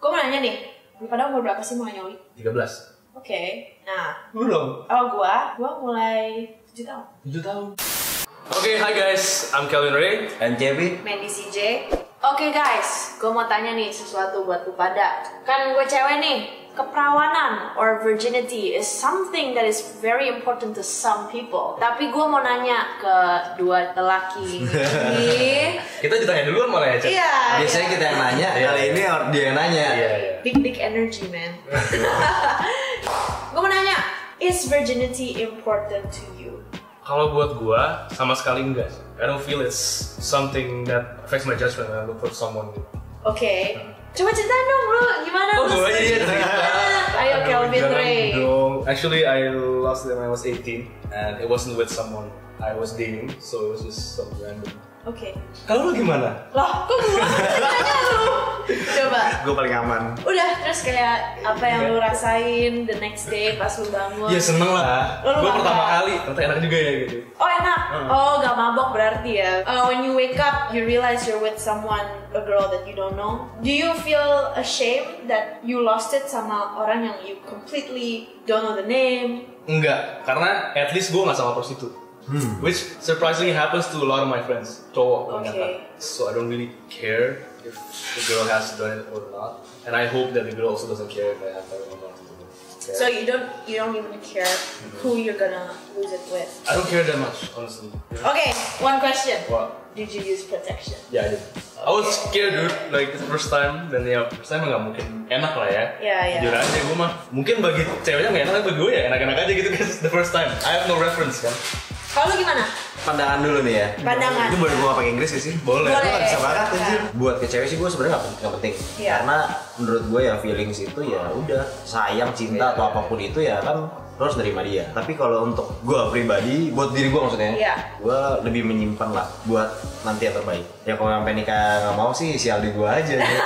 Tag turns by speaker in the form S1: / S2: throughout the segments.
S1: nanya nih, pada umur berapa sih mau nyoli?
S2: 13
S1: Oke, nah,
S2: Lu dong
S1: kalau gua, gua mulai 7 tahun.
S2: 7 tahun Oke, hi guys, I'm Calvin Ray
S3: And JB,
S1: Mandy CJ. Oke guys, gue mau tanya nih sesuatu buat lu pada. Kan gue cewek nih, keperawanan or virginity is something that is very important to some people. Tapi gue mau nanya ke dua lelaki. ini.
S2: Kita ditanya duluan malah ya, Cep
S1: Iya.
S3: biasanya kita yang nanya,
S2: Iya.
S3: kali ini or- dia yang nanya.
S2: Iya,
S1: Big big energy man. gue mau nanya, is virginity important to you?
S2: Kalau buat gua, sama sekali enggak sih. I don't feel it's something that affects my judgment when I look for someone
S1: Oke, coba ceritain dong lu gimana?
S2: Oh, iya.
S1: lu
S2: gua aja yang cerita.
S1: Ayo Kelvin
S2: Jangan
S1: Ray.
S2: dong. Actually, I lost it when I was 18 and it wasn't with someone I was dating, so it was just some random.
S1: Oke.
S2: Kalau lu gimana?
S1: Loh, kok gue nanya lu? Coba.
S3: Gue paling aman.
S1: Udah, terus kayak apa yang lu rasain the next day pas lu bangun?
S2: Ya seneng lah.
S1: Lu
S2: Gua
S1: mabok.
S2: pertama kali, ternyata enak juga ya gitu.
S1: Oh enak. Oh gak mabok berarti ya. Uh, when you wake up, you realize you're with someone, a girl that you don't know. Do you feel ashamed that you lost it sama orang yang you completely don't know the name?
S2: Enggak, karena at least gua nggak sama prostitut.
S3: Hmm.
S2: Which surprisingly happens to a lot of my friends, cowok
S1: Okay.
S2: ternyata. So I don't really care if the girl has done it or not, and I hope that the girl also doesn't care if I have done it or not. Yeah.
S1: So you don't you don't even care who you're gonna lose it with.
S2: I don't care that much, honestly.
S1: Okay, one question.
S2: What?
S1: Did you use protection?
S2: Yeah, I did. I was scared dude, like the first time dan ya first time nggak mungkin enak lah ya.
S1: Iya, iya.
S2: Jujur aja gue mah, mungkin bagi ceweknya nggak enak, tapi bagi gue ya enak-enak aja gitu guys. The first time, I have no reference kan.
S1: Kalau lu gimana?
S3: Pandangan dulu nih ya.
S1: Pandangan.
S3: Itu boleh gue pakai Inggris gak sih?
S2: Boleh.
S1: Boleh.
S3: Gue gak bisa banget
S1: Silakan.
S3: anjir. Buat ke cewek sih gue sebenarnya gak, penting- gak penting.
S1: Iya.
S3: Karena menurut gue ya feelings itu ya udah sayang, cinta atau apapun itu ya kan lo harus nerima dia. Tapi kalau untuk gue pribadi, buat diri gue maksudnya,
S1: Iya.
S3: gue lebih menyimpan lah buat nanti yang terbaik. Ya kalau sampai nikah nggak mau sih sial di gue aja. ya.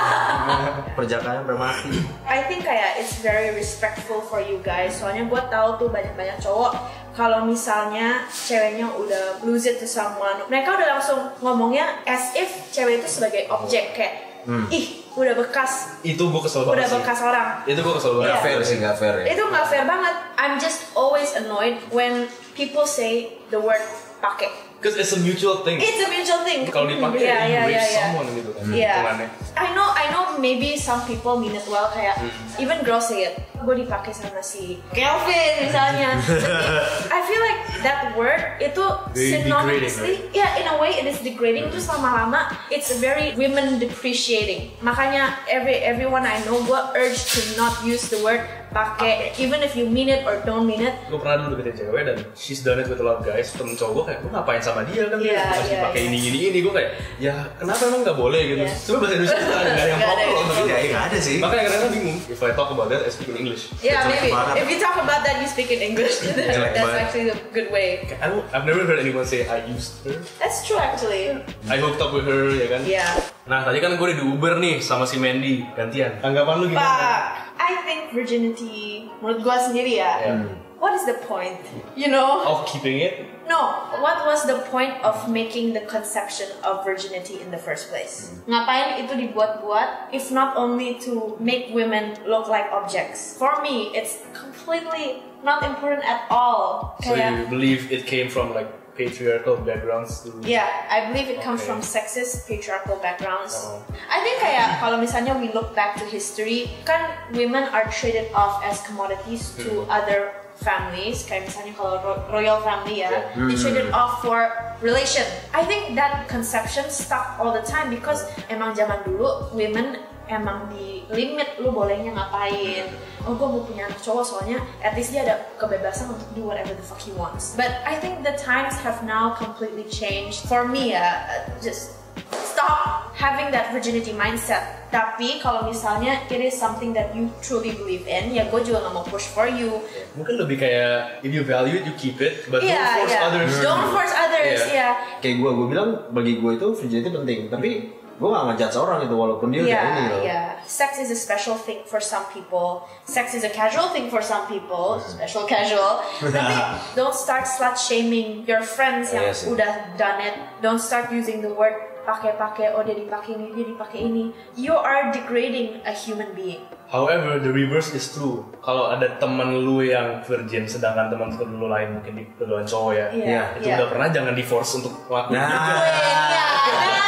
S3: Perjakaannya bermati.
S1: I think kayak it's very respectful for you guys. Soalnya gue tahu tuh banyak-banyak cowok kalau misalnya ceweknya udah lose it to someone, mereka udah langsung ngomongnya as if cewek itu sebagai objek kayak
S2: Hmm.
S1: ih udah bekas,
S2: Itu gue kesel
S1: udah
S2: banget sih.
S1: bekas orang.
S2: Itu gue kesel banget.
S1: Iya.
S3: Gak fair sih, gak fair ya.
S1: Itu nggak fair banget. I'm just always annoyed when people say the word pakai.
S2: Cause it's a mutual thing.
S1: It's a mutual thing.
S2: Kalau
S1: Iya,
S2: dipakai yeah,
S1: iya,
S2: yeah,
S1: iya, iya.
S2: someone gitu kan.
S1: Yeah.
S2: hubungannya.
S1: I know, I know. Maybe some people mean it well. Kayak even girls say it. Gue dipakai sama si Kelvin misalnya. Tapi I feel like that word itu
S2: Very
S1: synonymously, yeah, in a way it is degrading. Terus lama-lama it's very women depreciating. Makanya every everyone I know gue urge to not use the word pakai, even if you mean it or don't mean it.
S2: Gue pernah dulu deketin cewek dan she's done it with a lot of guys. Temen cowok gue kayak, gue ngapain sama dia kan?
S1: Iya,
S2: dia harus
S1: iya,
S2: dipakai
S1: iya.
S2: ini, ini, ini. Gue kayak, ya kenapa emang nggak boleh gitu?
S1: Iya.
S2: Cuma bahasa Indonesia tuh nggak ada yang
S1: Nggak ada
S2: proper
S1: yang
S2: loh.
S3: Iya, ya, gak ada sih.
S2: Makanya kadang-kadang bingung. If I talk about that, I speak in English.
S1: Yeah,
S3: Jelek
S1: maybe.
S3: banget.
S1: If you talk about that, you speak in English.
S3: Jelek
S1: That's
S3: banget.
S1: actually a good way.
S2: I don't, I've never heard anyone say I used her.
S1: That's true actually.
S2: I hooked up with her, ya kan?
S1: Yeah.
S2: Nah, tadi kan gue udah di Uber nih sama si Mandy, gantian. Tanggapan lu gimana?
S1: Pak, I think virginity menurut gua sendiri ya.
S2: Yeah.
S1: What is the point? You know?
S2: Of keeping it?
S1: No, what was the point of making the conception of virginity in the first place?
S2: Mm.
S1: Ngapain itu dibuat-buat if not only to make women look like objects? For me, it's completely not important at all.
S2: So
S1: Kayak-
S2: you believe it came from like patriarchal backgrounds to
S1: Yeah, I believe it comes
S2: Okay.
S1: from sexist patriarchal backgrounds.
S2: Oh.
S1: I think kayak kalau misalnya we look back to history, kan women are traded off as commodities to other families. Kayak misalnya kalau ro- royal family ya,
S2: Yeah.
S1: they traded off for relation. I think that conception stuck all the time because emang zaman dulu women emang di limit lu bolehnya ngapain oh gue mau punya anak cowok soalnya at least dia ada kebebasan untuk do whatever the fuck he wants but I think the times have now completely changed for me ya uh, just stop having that virginity mindset tapi kalau misalnya it is something that you truly believe in ya gue juga gak mau push for you
S2: Mungkin lebih kayak if you value it, you keep it, but
S1: Iya,
S2: don't force
S1: iya.
S2: others.
S1: don't force others
S2: Iya.
S1: ya
S3: kayak gue gue bilang bagi gue itu virginity penting tapi gue gak ngejudge orang itu walaupun dia udah ini
S1: Yeah,
S3: loh
S1: yeah. Sex is a special thing for some people. Sex is a casual thing for some people. Special casual. Tapi don't start slut shaming your friends yang
S3: Iya sih.
S1: udah done it. Don't start using the word pakai-pakai oh dia dipakai ini dia dipakai ini you are degrading a human being
S2: However, the reverse is true. Kalau ada temen lu yang virgin, sedangkan teman temen lu lain mungkin di kedua cowok ya,
S3: Iya,
S2: itu udah pernah jangan di force untuk ngelakuin.
S3: Nah.
S1: Iya, nah.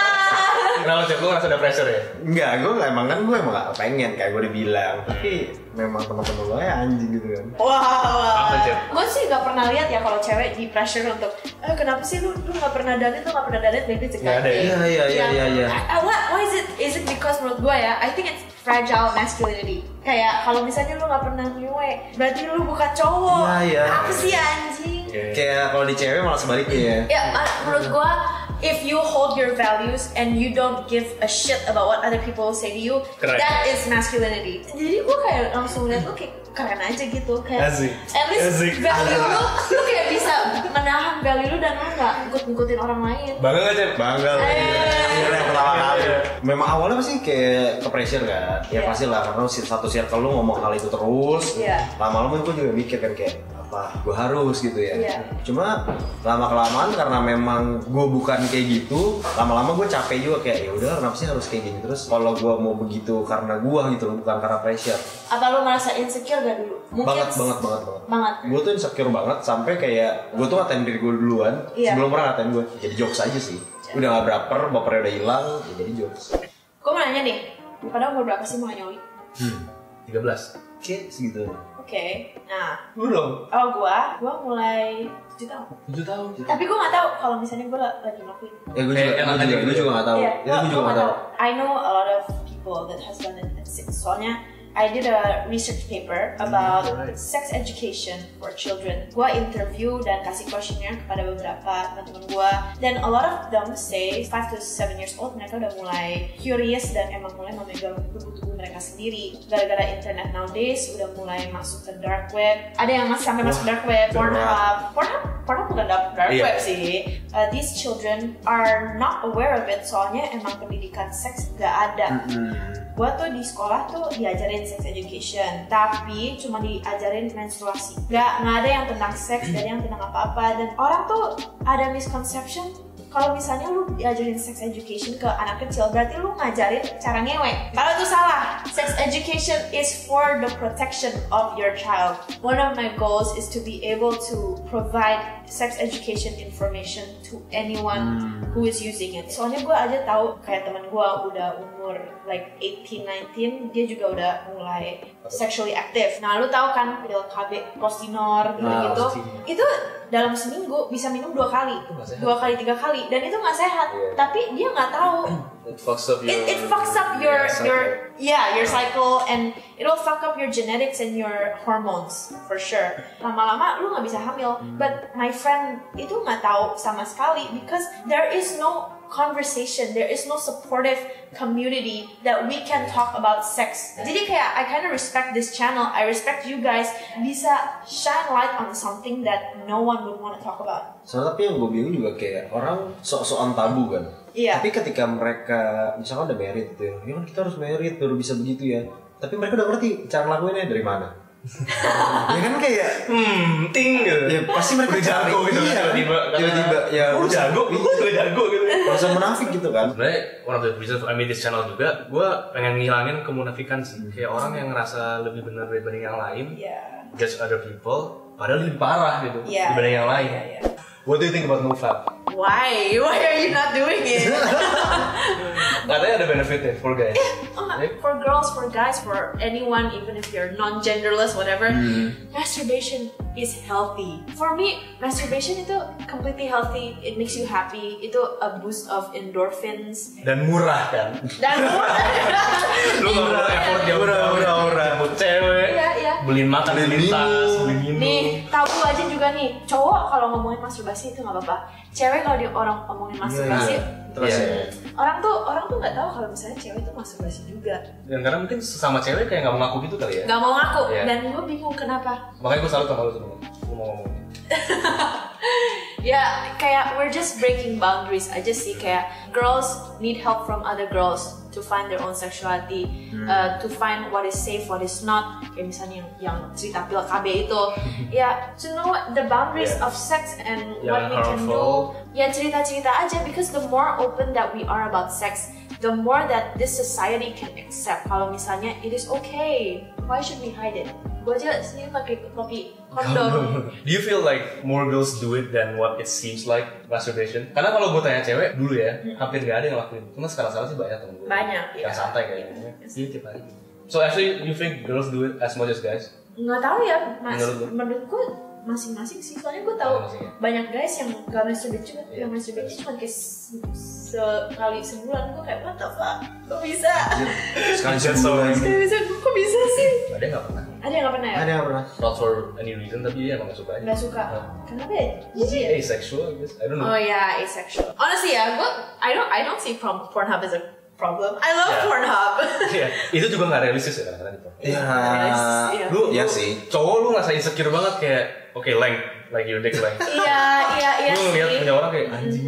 S2: Kenapa cek lu ngerasa ada pressure ya?
S3: Enggak, gue emang kan gue emang gak pengen kayak gue udah bilang Tapi memang teman-teman gue ya anjing gitu kan
S1: Wow.
S2: Apa, Jep?
S1: Gue sih gak pernah lihat ya kalau cewek di pressure untuk eh kenapa sih lu lu gak pernah danit lu gak pernah gitu danit maybe it's a
S2: Nggak ada ya?
S1: guy
S3: Iya, iya, iya, iya, iya
S1: Ah, what, why is it? Is it because menurut gue ya, I think it's fragile masculinity. Kayak kalau misalnya lu gak pernah nyewe, berarti lu bukan cowok.
S3: Iya, iya.
S1: Apa sih anjing?
S2: Oke.
S3: Kayak kalau di cewek malah sebaliknya ya
S1: Ya, ma- menurut gua, if you hold your values and you don't give a shit about what other people say to you,
S2: Keren.
S1: that is masculinity. Jadi gua kayak langsung liat lu kayak keren aja gitu kayak
S2: Asik.
S1: at least
S2: Asik.
S1: value lu lu kayak bisa menahan value lu dan lu nggak ngikut-ngikutin orang lain
S2: Bangga gak cek?
S3: Bangga lah iya.
S1: Eh.
S3: Akhirnya pertama kali Memang awalnya pasti kayak ke pressure kan Ya
S1: Iya.
S3: pasti lah, karena si- satu circle lu ngomong hal itu terus
S1: Iya.
S3: Lama-lama gue juga mikir kan kayak apa gue harus gitu ya
S1: Iya.
S3: cuma lama kelamaan karena memang gue bukan kayak gitu lama-lama gue capek juga kayak ya udah kenapa sih harus kayak gini terus kalau gue mau begitu karena gue gitu loh bukan karena pressure
S1: apa lu merasa insecure gak dulu?
S3: banget banget banget banget
S1: Banget.
S3: gue tuh insecure banget sampai kayak gue tuh ngatain diri gue duluan
S1: Iya.
S3: sebelum orang ngatain gue jadi jokes aja sih udah gak baper bapernya udah hilang ya jadi jokes
S1: Gue mau nanya nih, padahal umur berapa sih mau nyoli?
S2: Hmm. 13.
S3: oke segitu
S1: Oke, nah
S2: Lu dong?
S1: kalau gua, gua mulai 7 tahun
S2: 7 tahun.
S1: Tapi gua gak tahu kalau misalnya gua la- lagi ngelakuin
S3: ya gue
S2: Eh,
S3: juga
S2: enak
S3: gue
S2: aja
S3: juga,
S2: gitu.
S3: gue juga gak tahu
S1: Iya,
S3: ya gue juga
S1: gua
S3: gak tahu
S1: I know a lot of people that has done it at six. Soalnya I did a research paper
S3: Hmm,
S1: about
S2: alright.
S1: sex education for children. Gua interview dan kasih questionnaire kepada beberapa teman-teman gua. Dan a lot of them say 5 to 7 years old mereka udah mulai curious dan emang mulai memegang tubuh-tubuh mereka sendiri. Gara-gara internet nowadays udah mulai masuk ke dark web. Ada yang masih sampai masuk dark web,
S3: dark.
S1: Pornhub. Pornhub, Pornhub bukan dark dark
S2: Iya.
S1: web sih. Uh, these children are not aware of it soalnya emang pendidikan seks gak ada.
S2: Hmm.
S1: Gua tuh di sekolah tuh diajarin sex education, tapi cuma diajarin menstruasi. Gak nggak ada yang tentang seks dan yang tentang apa-apa dan orang tuh ada misconception kalau misalnya lu diajarin sex education ke anak kecil berarti lu ngajarin cara ngewe. Padahal itu salah. Sex education is for the protection of your child. One of my goals is to be able to provide sex education information to anyone
S2: Hmm.
S1: who is using it. Soalnya gue aja tahu kayak teman gue udah umur like 18, 19 dia juga udah mulai sexually active. Nah lu tahu kan pil KB,
S2: Nah,
S1: postinor gitu-gitu.
S2: postinor.
S1: itu dalam seminggu bisa minum dua kali,
S2: nggak sehat.
S1: dua kali tiga kali dan itu nggak sehat.
S3: Iya.
S1: Tapi dia nggak tahu
S2: It fucks up your...
S1: it, it fucks up your
S2: Yeah,
S1: your
S2: cycle.
S1: yeah your cycle and it'll fuck up your genetics and your hormones for sure lama-lama lu nggak bisa hamil
S2: Hmm.
S1: but my friend itu nggak tahu sama sekali because there is no conversation there is no supportive community that we can talk about sex jadi kayak I kind of respect this channel I respect you guys bisa shine light on something that no one would want to talk about
S3: Soalnya tapi yang gue bingung juga kayak orang sok-sokan tabu kan.
S1: Iya.
S3: Tapi ketika mereka misalkan udah merit gitu ya, ya kan kita harus merit baru bisa begitu ya. Tapi mereka udah ngerti cara ngelakuinnya dari mana. ya kan kayak
S2: Hmm, ting gitu.
S3: ya pasti mereka
S2: Udah jago
S3: cari,
S2: gitu
S3: iya,
S2: tiba-tiba. karena-
S3: tiba-tiba ya
S2: Lu jago, lu udah jago gitu.
S3: langsung munafik gitu kan.
S2: sebenarnya one of the reasons I made this channel juga gue pengen ngilangin kemunafikan sih kayak orang yang ngerasa lebih benar dibanding yang lain
S1: yeah
S2: judge other people padahal lebih parah gitu
S1: Iya.
S2: dibanding yang lain
S1: yeah yeah
S2: what do you think about NoFap?
S1: why why are you not doing
S2: Iya,
S1: it
S2: katanya ada benefitnya for guys
S1: Oh, for girls, for guys, for anyone, even if you're non-genderless, whatever, masturbation is healthy. For me, masturbation itu completely healthy. It makes you happy. Itu a boost of endorphins.
S2: dan murah kan
S1: Dan
S2: lu gak perlu effort jauh
S3: Murah, murah, murah.
S2: jemput cewek
S1: Iya, iya.
S2: beliin makan
S3: Beliin
S2: beliin tas
S3: minum.
S2: beliin minum
S1: nih tabu aja juga nih cowok kalau ngomongin masturbasi itu nggak apa-apa. Cewek kalau dia orang ngomongin
S3: iya.
S1: masturbasi,
S3: Terus
S2: Iya.
S3: ya.
S1: orang tuh orang tuh nggak tahu kalau misalnya cewek itu masturbasi juga.
S2: dan karena mungkin sesama cewek kayak gak mau ngaku gitu kali ya
S1: Nggak mau ngaku.
S2: Iya.
S1: Dan gue bingung kenapa.
S2: makanya gue salut sama lu tuh gue mau ngomong
S1: Ya, kayak we're just breaking boundaries aja sih kayak girls need help from other girls to find their own sexuality,
S2: Hmm.
S1: uh, to find what is safe, what is not. Kayak misalnya yang, yang cerita pil KB itu, ya to know what the boundaries
S2: Hmm. Yeah.
S1: of sex and
S2: Yang
S1: what we can do.
S2: harmful.
S1: Ya cerita-cerita aja, because the more open that we are about sex, the more that this society can accept. Kalau misalnya it is okay, why should we hide it? Gue aja sendiri pakai pakai kondom.
S2: Do you feel like more girls do it than what it seems like masturbation? Karena kalau gue tanya cewek dulu ya, hampir gak ada yang ngelakuin. Cuma sekarang sekarang sih banyak temen gue.
S1: Hmm. Banyak,
S2: Yang
S1: iya.
S2: santai kayaknya. Iya tiap hari. So actually you think girls do it as much as guys?
S1: nggak tahu ya mas
S2: Menurut lu?
S1: menurutku masing-masing sih soalnya gue tahu
S2: Masing-masing ya?
S1: banyak guys yang gak masturbate cuma
S2: Iya.
S1: yang masturbate cuma kayak se- sekali sebulan gue kayak what the fuck kok bisa
S3: Sekali
S2: That's so
S3: sebulan.
S2: amazing.
S1: kok bisa kok bisa sih
S2: Ada yang nggak pernah?
S1: ada yang gak pernah ya
S3: Ada yang pernah?
S2: Not for any reason tapi dia emang gak suka aja.
S1: nggak suka
S2: Nah.
S1: kenapa ya Jijik ya?
S2: Jadi asexual, I guess. I don't know.
S1: Oh yeah, asexual. Honestly, yeah, gue I don't I don't see prom- Pornhub as a problem. I love
S2: Yeah.
S1: Pornhub.
S2: Iya, itu juga nggak realistis ya kadang-kadang gitu.
S3: Iya.
S1: Iya.
S2: Lu,
S3: Iya
S2: lu-
S3: sih.
S2: Cowok lu ngerasa insecure banget kayak, oke length, like your dick length.
S1: Iya, iya, iya
S2: Lu ngeliat
S1: sih. Hmm.
S2: punya orang kayak anjing.